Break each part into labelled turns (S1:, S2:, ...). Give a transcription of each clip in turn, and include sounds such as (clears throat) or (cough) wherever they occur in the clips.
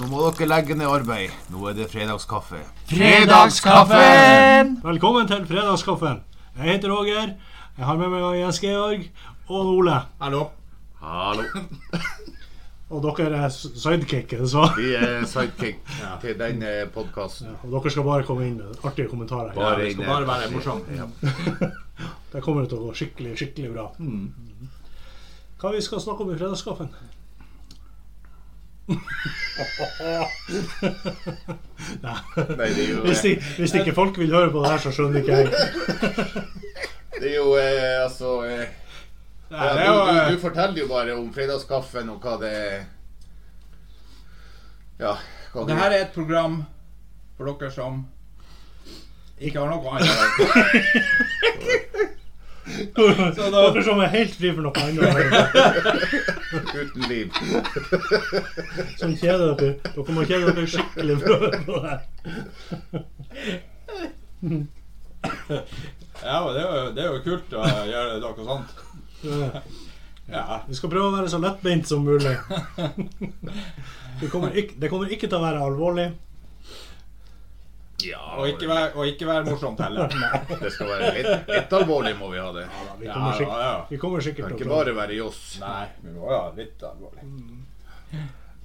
S1: Nå må dere legge ned arbeid. Nå er det fredagskaffe.
S2: Fredagskaffen!
S3: Velkommen til fredagskaffen. Jeg heter Roger. Jeg har med meg Jens Georg og Ole.
S4: Hallo.
S5: Hallo.
S3: Og dere er sidekicken, så.
S5: Vi er sidekick til den eh, podkasten.
S3: Og dere skal bare komme inn med artige kommentarer.
S4: Ja, det skal bare være morsomt.
S3: Det kommer til å gå skikkelig, skikkelig bra.
S4: Mm.
S3: Hva vi skal snakke om i fredagskaffen? Nei,
S5: Nei, det er jo,
S3: hvis, ikke- hvis ikke folk vil høre på det her, så skjønner ikke jeg.
S5: det er jo eh, altså eh,
S4: Nei, det
S5: ja, du,
S4: er jo, eh,
S5: du, du forteller jo bare om fredagskaffen og hva det Ja. Hva
S4: eh,
S5: du,
S4: det her er et program for dere som ikke har noe annet.
S3: Dere som er helt fri for noe annet,
S5: uten liv.
S3: som kjeder dere. Dere må kjede dere skikkelig for å høre på det her.
S4: Ja, men det er, jo, det er jo kult å gjøre noe sånt.
S3: Ja.
S4: Ja.
S3: Vi skal prøve å være så lettbeint som mulig. Det kommer ikke, det kommer ikke til å være alvorlig.
S4: Og ikke være, og ikke være morsomt heller.
S5: Det skal være litt, litt alvorlig, må vi ha det.
S3: Vi
S4: Ja,
S3: kommer,
S4: ja, ja.
S3: sikk- vi kommer
S5: Det
S3: sikkert
S5: kan
S3: til
S5: ikke
S3: å klare
S5: bare være joss.
S4: Nei, vi må jo ha litt alvorlig.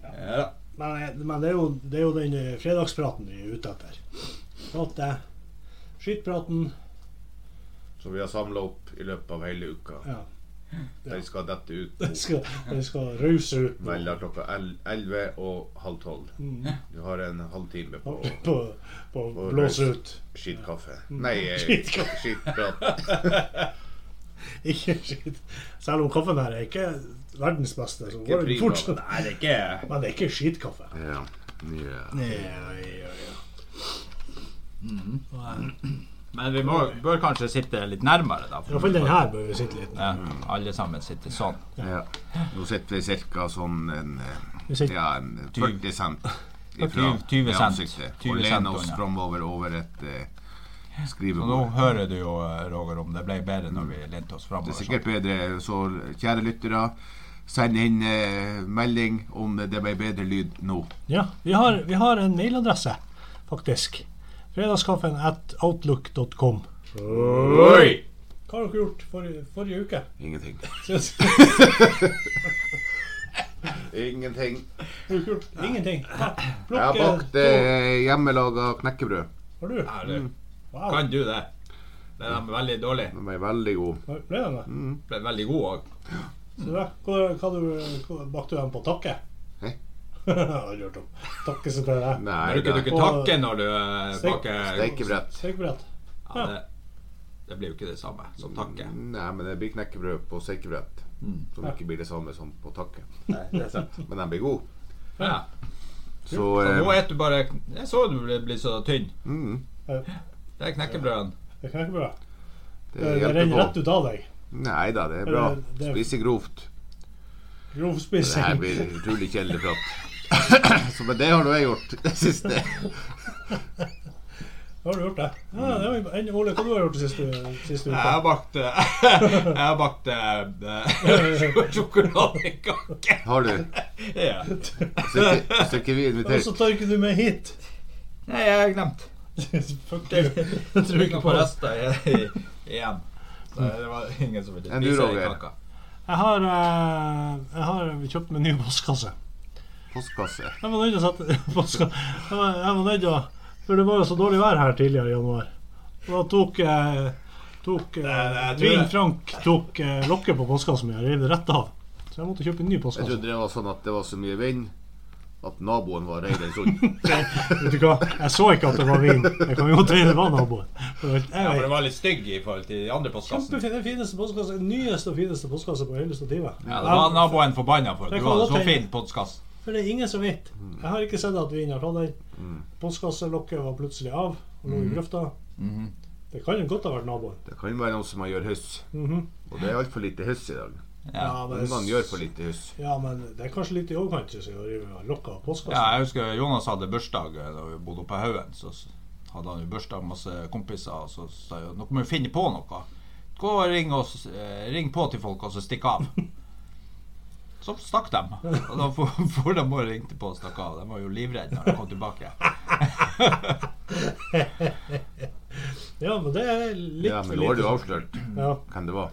S4: Ja da.
S3: Men, eh, men det, er jo, det er jo den eh, fredagspraten vi er ute etter. eh, Prate. Skittpraten.
S5: Som vi har samla opp i løpet av hele uka.
S3: Ja.
S5: Den skal dette ut
S3: Den skal, den skal rause ut nå.
S5: mellom klokka el- 11 og halv 12. Du har en halvtime på å
S3: på, på å blåse ut.
S5: skittkaffe.
S6: Mm.
S5: Nei, eh,
S3: Skittkaffe.
S5: skittprat.
S3: Ikke skitt. Selv om kaffen her er ikke verdens beste, så går den
S5: prima.
S3: fortsatt.
S4: Nei, det er ikke
S3: (laughs) Men det er ikke skittkaffe.
S5: (laughs) Ja. Ja.
S6: Men vi må, bør kanskje sitte litt nærmere, da.
S3: I hvert fall den her bør vi sitte litt.
S6: Ja, alle sammen sitter sånn.
S5: ja. Nå sitter vi ca. sånn en, eh,
S3: Vi sitter-
S5: ja, en 40 cent ifra
S6: 20 20
S5: i
S6: cent.
S5: ansiktet.
S6: 20
S5: Og
S6: cent
S5: lener oss
S6: unna.
S5: framover over et eh,
S6: Og nå
S5: skrivebord.
S6: hører du jo, eh, Roger, om det ble bedre når vi lente oss
S5: Det er
S4: sånn.
S6: framover.
S5: sikkert bedre, så kjære lyttere, send inn eh, melding om det ble bedre lyd nå.
S3: Ja, vi har, vi har en mailadresse, faktisk. Fredagskaffen at outlook.com.
S4: Oi!
S3: Hva har dere gjort forrige, forrige uke? (laughs)
S5: Ingenting.
S3: Syns-
S5: Ingenting.
S3: Ingenting. Ja,
S5: Jeg har
S3: Plukk eh,
S5: bakt eh, hjemmelaga knekkebrød.
S3: Har du?
S4: Ja, det-
S3: Wow.
S4: Kan du det? Den er veldig dårlig.
S5: Den er veldig god.
S3: Ble den det?
S4: Ble veldig god òg.
S3: Så bra. Hva, hva, du, hva bakte du den på takke? (laughs)
S5: Hæ?
S3: Har du hørt om takke som det er?
S5: Nei,
S4: Bruker du
S5: det
S4: ikke takke når du eh,
S3: Steik-
S4: baker
S5: stekebrett.
S3: Stekebrett.
S4: Ja, Mm. det, det blir jo ikke det samme som takke. Mm.
S5: Nei, men det blir knekkebrød på stekebrett. Som ikke blir det samme som på takke.
S4: Nei, det er sant.
S5: Men den blir god.
S4: Ja.
S5: Så
S4: Og nå
S5: eh,
S4: spiser du bare Jeg så du ble, ble så tynn.
S5: mm,
S4: Det er knekkebrøden.
S3: Det kan ikke bra. Det,
S5: det
S3: det renner
S5: hjelper
S3: rett
S5: på.
S3: ut av deg.
S5: Nei da, det er bra.
S3: Det- det-
S5: Spiser grovt. Det her
S3: Grovspising.
S5: blir utrolig kjedelig prat. (coughs) Så men det har nå jeg gjort det siste.
S3: Har du gjort det? Ja, det var, jo- Ole, hva du har du gjort siste, siste
S4: Jeg
S3: uke?
S4: har bakt eh, (laughs) Jeg har bakt eh, (laughs) sjokoladekake.
S5: Har du?
S4: Ja.
S5: Så ikke, så ikke vi
S3: Og så
S5: invitert.
S3: tar ikke du med hit.
S4: Nei, jeg har glemt.
S3: Fuck you.
S4: Jeg tror ikke på resten i- i- igjen. Så det var ingen som ville
S5: Enn du,
S4: spise
S5: Roger?
S4: den kaka.
S3: Jeg har, eh, jeg har kjøpt meg ny postkasse.
S5: Postkasse.
S3: Jeg var nødt til å sette (laughs) postka- Jeg var, jeg var nødt til å For det var jo så dårlig vær her tidligere i januar. Og da tok eh, Tok eh,
S4: det- jeg tror
S3: Tvin
S4: det-
S3: Frank tok eh, lokket på postkassen min og rev det rett av. Så jeg måtte kjøpe en ny
S5: Jeg
S3: postkasse.
S5: trodde det var sånn at det var så mye vind at naboen var reid en stund.
S3: Vet du hva? Jeg så ikke at det var vin. Det kan jo godt hende det var naboen. For
S4: Ja,
S3: jeg
S4: for den
S3: vet-
S4: var litt stygg i forhold til de andre postkassene.
S3: Kjempefin, den fineste postkasse, den nyeste og fineste postkasse på hele stativet.
S6: Ja, det var naboen forbanna for.
S3: Det
S6: Du
S3: kan
S6: hadde
S3: godt
S6: så
S3: hende.
S6: fin podkast.
S3: For det er ingen som vet. Jeg har ikke sett at vinen har tatt den.
S5: Mm.
S3: Postkasselokket var plutselig av og lå i grøfta. Det kan jo godt ha vært naboen.
S5: Det kan være noen som har gjør hyss.
S3: Mhm.
S5: Og det er altfor lite hyss i dag.
S3: Ja, men-
S5: Ungene gjør for lite hyss.
S3: Ja, men det er kanskje litt i overkant synes jeg, å rive av lokket av postkassen.
S6: Ja, jeg husker Jonas hadde bursdag eh, da vi bodde oppe på Haugen. Så s- hadde han jo bursdag med masse kompiser, og så sa jeg nå må vi finne
S3: (laughs)
S6: på noe. Gå og ring, oss, eh, ring på til folk, og så stikk av. Så stakk de. Og da for, (laughs) for de og ringte på og stakk av. De var jo livredde når de kom tilbake.
S3: Ja, men det er litt
S5: Ja, men
S3: for
S5: nå har du
S3: lite.
S5: avslørt
S3: Ja.
S5: hvem det var.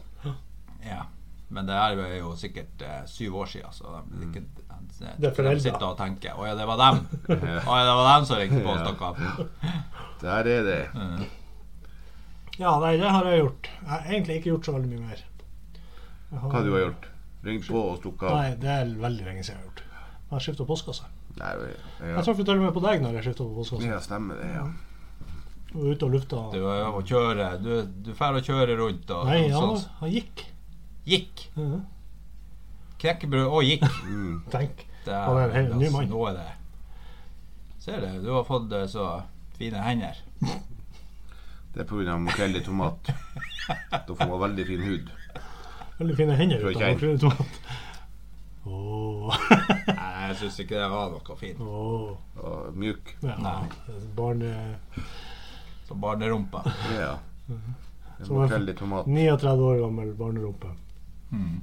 S6: Ja. Men det her er jo sikkert eh, syv år siden, så de, ikke, de,
S3: Det er foreldre.
S6: sitter og tenker Å ja, det var dem! Å ja, det var dem som ringte på og stakk av.
S5: Der er det.
S3: ja, nei, det har jeg gjort. Jeg har egentlig ikke gjort så veldig mye mer. Jeg
S5: Hva du har gjort? Ringt på og stukket av?
S3: Nei, det er veldig lenge siden jeg har gjort. Men jeg skifta postkasse.
S5: Nei,
S3: Jeg
S5: ja.
S3: traff jo til og med på deg når jeg skifta postkasse.
S5: ja, stemmer det. ja.
S3: Og ute og lufta.
S6: Du er jo å kjøre Du, du drar og kjører rundt og,
S3: Nei,
S6: og
S3: han,
S6: sånn.
S3: han gikk.
S6: Gikk!
S3: Ja.
S6: Knekkebrød og gikk.
S5: Mm.
S3: Tenk.
S6: Det
S3: Han er en helt ny
S6: altså,
S3: mann.
S6: Nå er det Ser du, du har fått eh, så fine hender.
S5: Det er pga. makrell i tomat. Da får man veldig fin hud.
S3: Veldig fine hender
S5: Tror
S3: ute
S5: ikke
S3: av Frøyne Tomat. (laughs) Åh. (laughs)
S6: Nei, jeg syns ikke det var noe fint.
S3: Åh.
S5: Og mjuk.
S3: Ja. Barn eh,
S6: Så barnerumpa.
S5: Ja. Det er
S3: Mhm. Så man-
S5: Makrell i tomat.
S3: 39 år gammel barnerumpe.
S6: Hmm.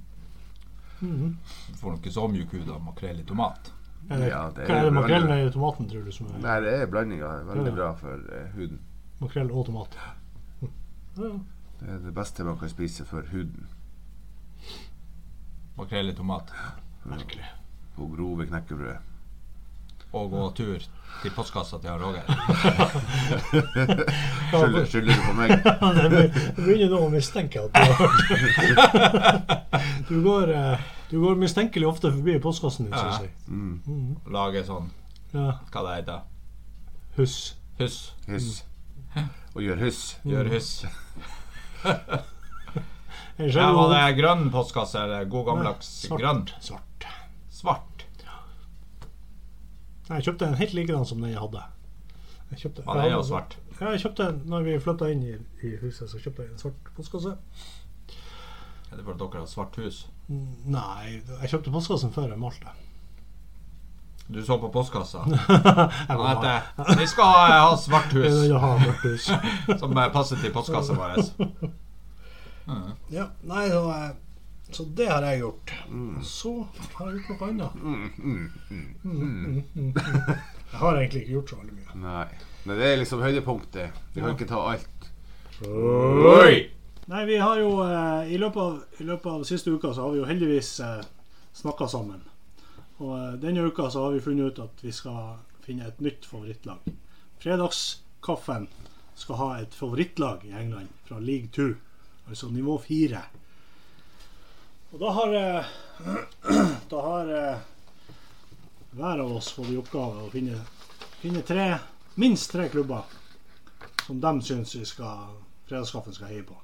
S6: Du får nok ikke så mjuk hud av makrell i tomat.
S3: Er det,
S5: Ja, det
S3: hva er
S5: er
S3: det makrellen
S5: veldig-
S3: eller tomaten, tror du, som er
S5: Nei, det er blandinga. Veldig bra for eh, huden.
S3: makrell og tomat? Ja.
S5: Det er det beste man kan spise for huden.
S6: Makrell i tomat.
S3: Merkelig.
S5: På grove
S3: (laughs)
S5: knekkebrød.
S6: Og gå tur til postkassa til han Roger.
S5: Skylder, skylder du på meg?
S3: (laughs) det be- jeg begynner nå å mistenke at du har (laughs) Du går, eh, du går mistenkelig ofte forbi postkassen din,
S6: Ja.
S3: syns jeg.
S5: Mm.
S3: Mhm.
S6: Lage sånn
S3: Ja.
S6: Hva det heter
S3: Huss.
S6: Huss.
S5: Hyss. Og gjør hyss.
S6: Gjør huss.
S3: Jeg
S6: Ja,
S3: skjønner
S6: var det
S3: jo-
S6: grønn postkasse eller god gammeldags
S3: Svart.
S6: grønn?
S3: Svart.
S6: Svart.
S3: Jeg kjøpte en helt likedan som den jeg hadde. Jeg kjøpte,
S6: Ja, den er jo svart.
S3: Ja, jeg kjøpte en, når vi flytta inn i, i huset, så kjøpte jeg en svart postkasse.
S6: Er det fordi dere har svart hus?
S3: Mm, Nei, jeg kjøpte postkassen før jeg malte. (laughs)
S6: Du så på postkassa.
S3: jeg
S6: Han
S3: vil ha,
S6: heter Vi skal ha, eh, ha svart
S3: jeg
S6: hus,
S3: vil ha mørkt hus.
S6: som eh, passer til postkassa vår.
S3: ja, nei, så, eh, så det har jeg gjort.
S6: Mm.
S3: Så har jeg gjort noe annet. Mm, mm, mm, mm. Jeg har egentlig ikke gjort så veldig mye.
S5: Nei. Men det er liksom høydepunktet. Vi kan ikke ta alt.
S6: Oi!
S3: Nei, vi har jo eh, i, løpet av, I løpet av siste uka så har vi jo heldigvis eh, snakka sammen. Og eh, denne uka så har vi funnet ut at vi skal finne et nytt favorittlag. Fredagskaffen skal ha et favorittlag i England fra league two, altså nivå fire. Og da har eh, (clears throat) Da har eh, hver av oss fått i oppgave å finne, finne tre, minst tre klubber som de syns vi skal fredagskaffen skal heie på.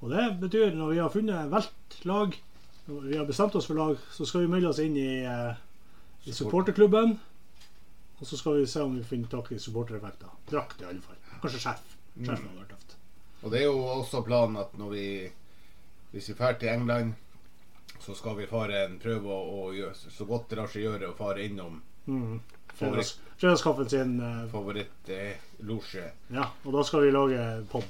S3: Og det betyr når vi har funnet valgt lag, når vi har bestemt oss for lag, så skal vi melde oss inn i, eh, i supporterklubben. Og så skal vi se om vi finner tak i supportereffekter. Drakt i alle fall. Kanskje skjerf.
S5: Mm.
S3: Skjerf hadde vært tøft.
S5: Og det er jo også planen at når vi Hvis vi drar til England, så skal vi fare en prøve å, å gjøre så godt det lar seg gjøre å fare innom Mm.
S3: Fredags, fredagskaffen sin eh,
S5: favorittlosje
S3: Ja, og da skal vi lage pod.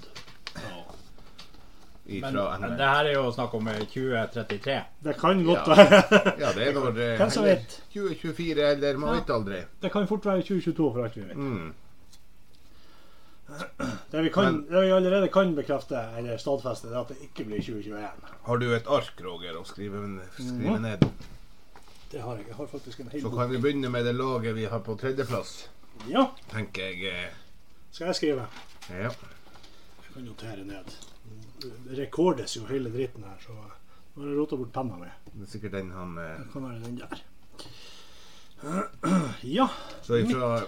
S5: fra England.
S4: her er jo snakk om eh, 2033.
S3: Det kan godt
S5: Ja.
S3: være (laughs)
S5: Ja, det er når det
S3: Hvem som
S5: heller
S3: vet?
S5: 2024 eller man vet aldri.
S3: Det kan fort være 2022 for alt vi vet.
S5: Mm.
S3: Det, vi kan,
S5: Men-
S3: det vi allerede kan bekrefte eller stadfeste, det er at det ikke blir 2021.
S5: Har du et ark, Roger, å skrive, skrive
S3: Mm.
S5: ned?
S3: Det har jeg. Jeg har faktisk en hel
S5: Så
S3: bok.
S5: kan vi begynne med det laget vi har på tredjeplass,
S3: Ja,
S5: tenker jeg.
S3: skal jeg skrive.
S5: eh, Ja.
S3: Jeg kan notere ned. Det rekordes jo hele dritten her, så nå har jeg rota bort penna mi.
S5: Det er sikkert den han eh,
S3: Det kan være den der. Ja.
S5: Så ifra,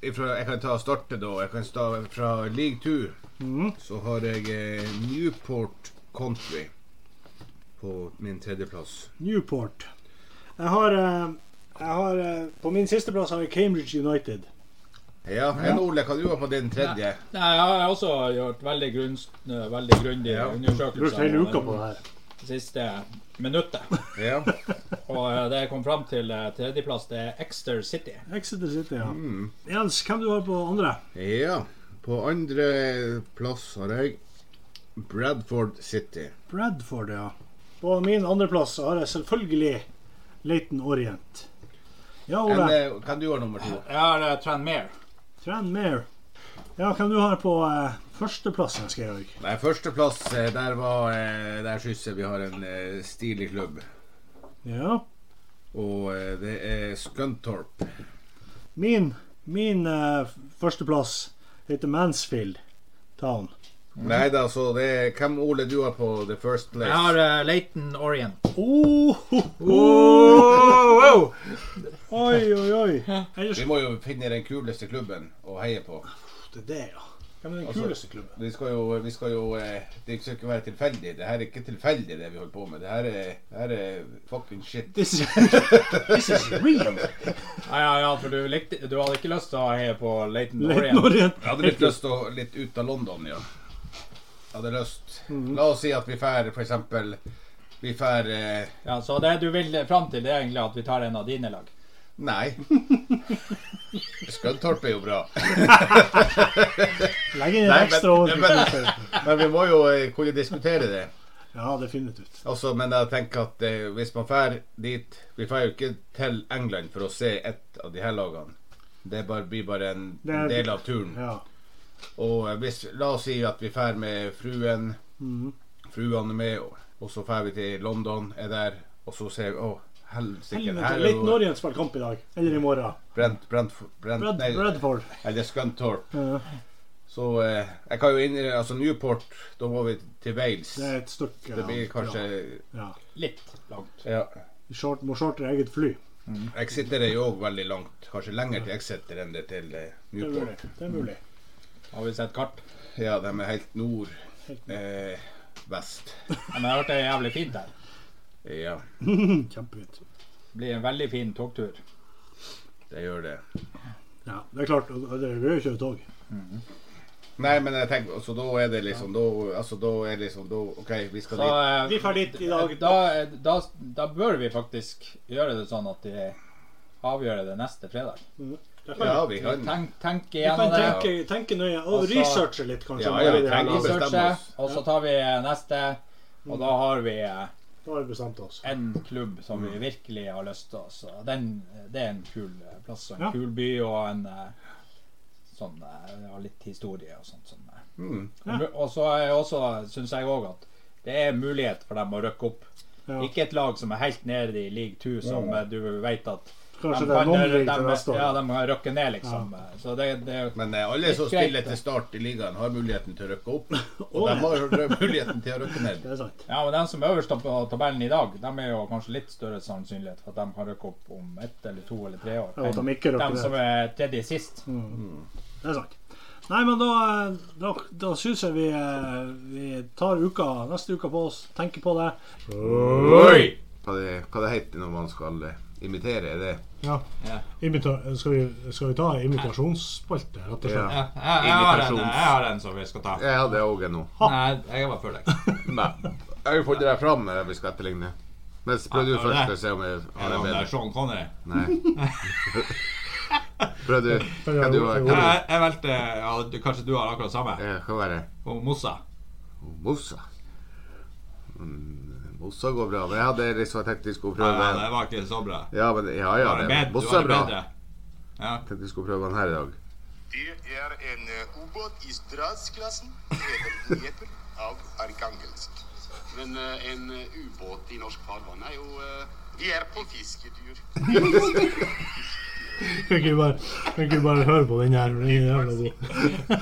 S5: ifra Jeg kan ta starte, da. Jeg kan sta fra league two.
S3: Mhm.
S5: Så har jeg eh, Newport Country på min tredjeplass.
S3: Newport. Jeg har, eh, jeg har eh, På min siste plass har jeg Cambridge United.
S5: Ja, Jan Ole, hva du har på din tredje?
S4: Nei, jeg har også gjort veldig, grunns, eh, veldig grundige
S5: Ja.
S3: Brukt
S4: undersøkelser
S3: hele uka
S4: om
S3: på det her.
S4: det siste minuttet.
S5: Ja.
S4: Og eh, det jeg kom fram til eh, tredjeplass, det er Exter City.
S3: Exeter City, ja. Jens, hvem du har på andre?
S5: ja. På andre plass har jeg Bradford City.
S3: Bradford, ja. På min andreplass har jeg selvfølgelig Leighton Orient. Ja,
S5: Enn,
S3: Ole.
S5: eh, kan du gjøre nummer to?
S4: Jeg har uh, Tranmere.
S3: Tranmere. Ja, hvem du har på eh, førsteplass, Hans Georg?
S5: Nei, førsteplass, eh, der var eh, Der syns jeg vi har en eh, stilig klubb.
S3: Ja.
S5: Og eh, det er Scunthorpe.
S3: Min, min eh, førsteplass heter Mansfield Town.
S5: Nei da, så det er Hvem, Ole, du har på the first place?
S4: Jeg har uh, Leighton Orient.
S3: Oh, ho, ho.
S4: wow.
S3: Oi, oi, oi. Ellers
S5: Vi må jo finne den kuleste klubben å heie på.
S3: det er det, ja. Hvem er den
S5: Altså-
S3: kuleste klubben?
S5: Vi skal jo, vi skal jo eh, Det skal ikke være tilfeldig. Det her er ikke tilfeldig, det vi holder på med. Det her er, det her er fucking shit.
S3: This is, this is real.
S4: Ja, ja, ja, for du, likte, du hadde ikke lyst til å heie på Leighton
S3: Leighton
S4: Orient?
S3: Orient.
S5: Jeg hadde litt lyst til å litt ut av London, ja. Jeg hadde lyst
S3: Mhm.
S5: La oss si at vi drar f.eks. Vi drar eh,
S4: Ja, så det du vil fram til, det er egentlig at vi tar en av dine lag?
S3: (laughs)
S5: Nei. Skøntorp er jo bra.
S3: Legg inn en
S5: Nei, men-
S3: ekstra over.
S5: men- Men vi må jo eh, kunne diskutere det.
S3: Ja, definitivt.
S5: Altså, men jeg tenker at eh, hvis man drar dit Vi drar jo ikke til England for å se ett av de her lagene. Det bare, blir bare en
S3: Det er-
S5: del av turen.
S3: Ja.
S5: Og eh, hvis, la oss si at vi drar med fruen.
S3: Mhm.
S5: Fruen er med, og, og så drar vi til London, er der, og så ser vi Å, helsike.
S3: Helvete,
S5: Her er
S3: Leighton
S5: jo
S3: Orient spiller kamp i dag. Eller i morgen.
S5: Brent, Brent, Brent,
S3: Brad,
S5: nei,
S3: Bradford.
S5: Eller Scunthorpe.
S3: Ja,
S5: Så eh, jeg kan jo inn Altså Newport, da må vi til Wales.
S3: det er et stykke.
S5: Det blir kanskje
S3: Ja.
S4: Litt langt.
S5: Ja.
S3: ja. Short, må shortere eget fly.
S5: Exeter er jo òg veldig langt. Kanskje lenger til Exeter enn det til eh,
S3: Det er mulig.
S5: Newport.
S3: Det er mulig.
S4: Har vi sett kart?
S5: Ja, de er helt nord
S3: Helt
S5: eh, vest.
S4: Ja, Men jeg har hørt det er jævlig fint der.
S5: Ja,
S3: (laughs) Kjempefint.
S4: Det blir en veldig fin togtur.
S5: det gjør det.
S3: Ja, det er klart. og Det er gøy å kjøre tog.
S5: Nei, men jeg tenker altså, da er det liksom da, altså, da er liksom da, OK, vi skal
S4: Så,
S5: dit.
S4: eh,
S3: Vi drar dit i dag.
S4: Da, da, da bør vi faktisk gjøre det sånn at de avgjør det neste fredag.
S5: Ja, vi kan
S4: Tenk, tenk
S3: Vi kan
S4: igjennom det.
S3: tenke, tenke nøye og
S4: Altså-
S3: researche litt, kanskje.
S5: Ja,
S3: om
S5: ja,
S3: det er det her
S5: tenk-
S3: laget.
S5: bestemme
S4: Researche,
S5: oss.
S4: og så tar vi eh, neste. Og da har vi eh,
S3: Da har vi bestemt oss.
S4: en klubb som vi virkelig har lyst til oss. Og Den, det er en kul eh, plass og en
S3: Ja.
S4: kul by og en eh, sånn eh, ja, litt historie og sånt. Sånn, eh.
S5: Mm.
S3: Ja.
S4: Og- Og så er jeg også, syns jeg òg at det er mulighet for dem å rykke opp.
S3: Ja.
S4: Ikke et lag som er helt nede i league 2, som eh, du veit at
S3: Kanskje
S4: de
S3: det
S4: kan-
S3: er noen ring
S4: de-
S3: til neste år.
S4: Ja, de kan rykke ned, liksom. Så det, det er
S5: Men eh, alle som
S4: Greit,
S5: stiller
S4: da.
S5: til start i ligaen, har muligheten til å rykke
S6: (laughs)
S5: opp. Og
S3: Å,
S5: de
S3: ja.
S5: har jo muligheten til å rykke ned.
S3: Det er sant.
S4: Ja, men De som er øverst på tabellen i dag, de er jo kanskje litt større sannsynlighet for at de kan rykke opp om ett eller to eller tre år.
S3: Ja, at de ikke rykker ned.
S4: de som er tredje sist.
S3: Mm.
S7: Mm.
S3: Det er sant. Nei, men da, eh, da, da syns jeg vi, eh, vi tar uka, neste uke på oss, tenker på det.
S4: Oi!
S5: Hva det, hva det heter når man skal eh, imitere, er det
S3: Ja. skal, vi, ta imitasjonsspalte, rett og
S5: slett?
S6: Jeg, jeg, jeg, har en, jeg har en som vi skal ta.
S5: Jeg hadde òg en nå.
S6: Nei, jeg var før deg.
S5: Nei. Jeg har jo fått det der fram eh, vi skal etterligne. Men prøv du
S6: Ja,
S5: først å
S6: det-
S5: se om jeg
S6: Er
S5: har en
S6: det om det
S5: bedre.
S6: er Sean Connery?
S5: Nei. Prøv
S6: (laughs)
S5: du. Kan du kan
S6: Jeg,
S5: du,
S6: jeg valgte ja, du- Kanskje du har akkurat samme?
S5: eh, Hva var det?
S6: Og Mossa.
S5: Mossa. Mm, Mossa går bra. Men jeg hadde liksom tenkt vi skulle
S6: Ja, det
S5: prøve
S6: var ikke så bra.
S5: Ja, men ja, ja.
S6: Var det
S5: det-
S6: bed-
S5: Mossa
S6: var
S5: er
S6: det
S5: bra.
S6: bedre?
S5: Tenkte vi skulle prøve den her i dag.
S2: Det er en eh, ubåt i Straz-klassen, heter Dnieper av Arkangelsk. Men eh, en eh, ubåt i norsk farvann er jo eh, Vi er på fisketur.
S7: Kan ikke vi bare, kan ikke vi bare høre på den her? Den er jævla god.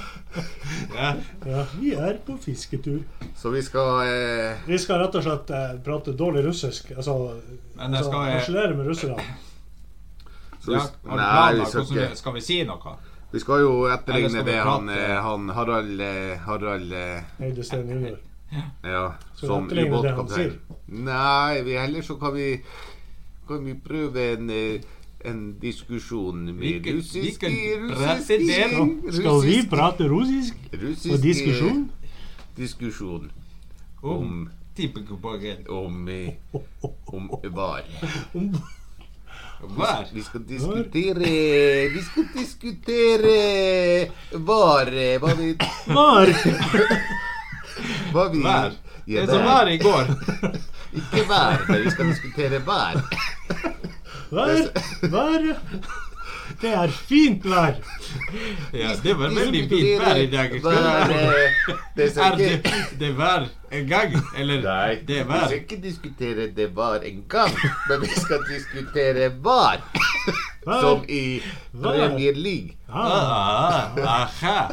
S7: Ja, vi er på fisketur.
S5: Så vi skal eh,
S7: Vi skal rett og slett eh, prate dårlig russisk. Altså,
S6: Men det
S7: altså
S6: skal jeg-
S7: harselere med russerne.
S5: så vi,
S6: Ja,
S5: sk-
S6: har du
S5: Nei, vi
S6: planer?
S5: skal
S6: Hvordan
S5: ikke
S6: skal vi si noe?
S5: Vi skal jo
S6: Eller skal
S5: etterligne
S6: vi
S5: det han,
S6: prate?
S5: eh, han Harald eh, Harald eh,
S7: Eide Steen Junior.
S5: Ja,
S7: Så
S5: som
S7: dette ligner det han
S5: ubåtkaptein. Nei, vi heller så kan vi Kan vi prøve en eh, en diskusjon med
S6: Hvilken-
S5: russisk
S6: hvilken
S5: russisk-
S6: president?
S7: Skal vi
S5: russisk-
S7: prate russisk
S5: russisk, eh,
S7: og diskusjon?
S5: Diskusjon
S6: Om
S5: om
S6: tippekompakken.
S5: om, eh, om var.
S6: Hver?
S5: Vi skal diskutere Vi skal diskutere var eh, Hva vi
S7: Var!
S5: hva vi-
S6: Vær.
S5: Ja, (laughs)
S6: Det som var i går.
S5: Ikke vær, men vi skal diskutere vær.
S3: Vær, vær Det er fint vær.
S6: Ja, det var veldig fint vær i dag. Skal
S5: Vær,
S6: vi-
S5: eh, Det
S6: Er
S5: skal
S6: det
S5: ikke
S6: fint det vær en gang? Eller
S5: Nei,
S6: det
S5: vi
S6: vær?
S5: skal ikke diskutere det var en gang, men vi skal diskutere var. Som
S3: Vær.
S5: i
S3: Var.
S5: Premier League.
S3: Ah,
S6: Ah, (laughs) aha.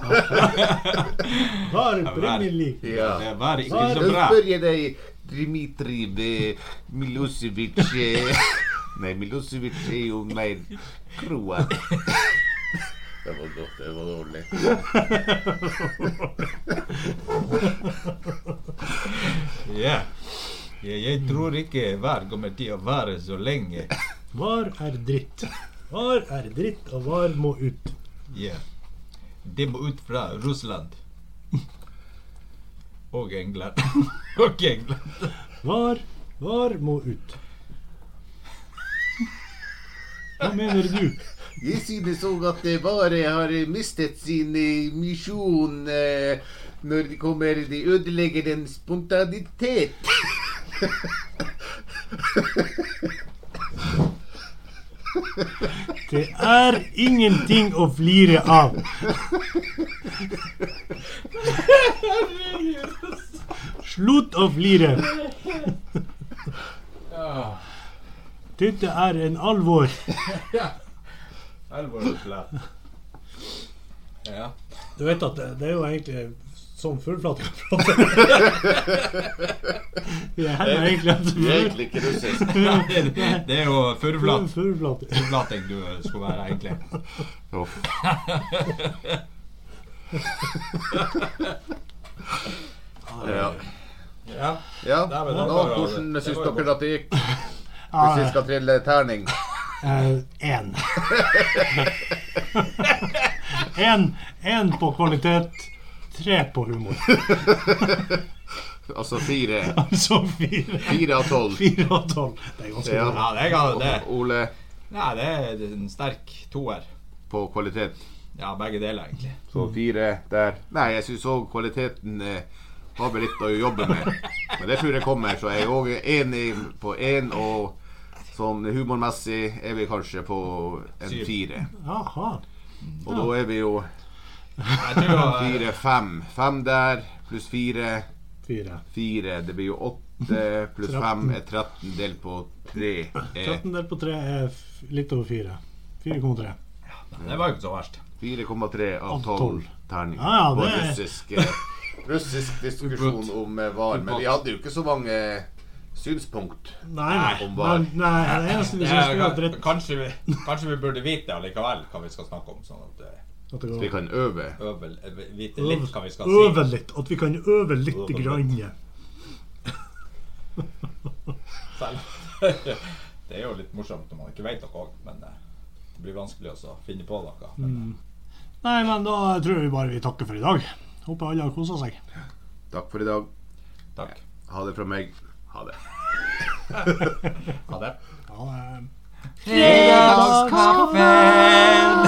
S3: vær Premier League.
S5: Ja.
S6: Det var ikke
S3: Vær.
S6: så
S5: Da
S6: bra.
S5: spør jeg deg, Dmitrij eh, Milosevic
S6: (laughs)
S5: eh, Nei, Milosevic er jo mer
S6: (laughs)
S5: kroa. Det var godt. Det var dårlig.
S6: Ja. Ja, jeg tror ikke vær kommer til å være så lenge.
S3: Var er dritt. Var er dritt, og var må ut.
S6: Ja. Det må ut fra Russland. (laughs) Og England. (laughs) Og England.
S3: Var, var må ut. Hva mener du?
S5: Jeg synes òg at det bare har mistet sin eh, misjon eh, når de kommer De ødelegger den spontanitet.
S3: Det er ingenting å flire av. Slutt å flire.
S6: Ah,
S3: Dette er en alvor.
S6: Alvorsplan. Ja.
S3: Du vet at det, det er jo egentlig sånn fullflating prater. Vi er her egentlig at
S5: Det er egentlig ikke russisk.
S6: Det er jo furuflat.
S3: Fullflating.
S6: Furuflating du skulle være, egentlig.
S5: Ja.
S6: Ja.
S5: ja.
S6: Nei, men det
S5: Nå,
S6: var jo-
S5: hvordan
S6: det
S5: syns
S6: var jo
S5: dere
S6: bra.
S5: at det gikk? Hvis vi skal trille terning?
S3: Eh, Én. Én en på kvalitet, tre på humor.
S5: Altså fire.
S3: Altså fire,
S5: Fire av tolv.
S3: fire og tolv. Det er ganske
S5: Ja.
S3: bra.
S6: Ja, det kan det.
S5: Ole
S6: Nei, det er en sterk toer.
S5: på kvalitet.
S6: Ja, begge deler, egentlig.
S5: Så fire der. Nei, jeg syns òg kvaliteten eh, har vi litt å jobbe med. Men det tror jeg kommer, så jeg er òg enig på én. Og sånn humormessig er vi kanskje på en
S6: Syv.
S5: fire.
S3: Jaha.
S5: Og da er vi jo
S6: Jeg tror eh,
S5: fire-fem. Fem der pluss fire.
S3: Fire.
S5: Fire. Det blir jo åtte pluss fem er 13 delt på tre. er
S3: 13 delt på tre er f- litt over fire. 4,3.
S6: det var jo ikke så verst.
S5: 4,3 av
S3: Av
S5: 12
S3: tolv.
S5: terninger.
S3: Ja, ja,
S5: på
S3: det er-
S5: russisk, eh, (laughs) russisk diskusjon
S6: Ubåt.
S5: om eh, var. Men vi hadde jo ikke så mange synspunkt.
S3: Nei, nei.
S5: Om hva?
S3: nei, nei det eneste vi
S6: Det
S3: syns
S6: er,
S3: er at rett
S6: kanskje, vi, kanskje vi burde vite allikevel hva vi skal snakke om, sånn at eh,
S3: at det går
S5: Vi kan øve.
S6: øvel, eh, vite litt hva vi
S3: Øve,
S6: skal si.
S3: øve litt. At vi kan øve
S6: Øve
S3: litt
S6: litt.
S3: grann.
S6: selv. (laughs) det er jo litt morsomt når man ikke vet noe òg, men eh, det blir vanskelig også å finne på noe. Men, eh,
S3: Nei, men da tror jeg vi bare vi takker for i dag. Håper alle har kosa seg.
S5: Takk for i dag.
S6: takk.
S5: Ha det fra meg. Ha det.
S6: Ha det.
S3: Ha det.
S5: Fredagskaffen!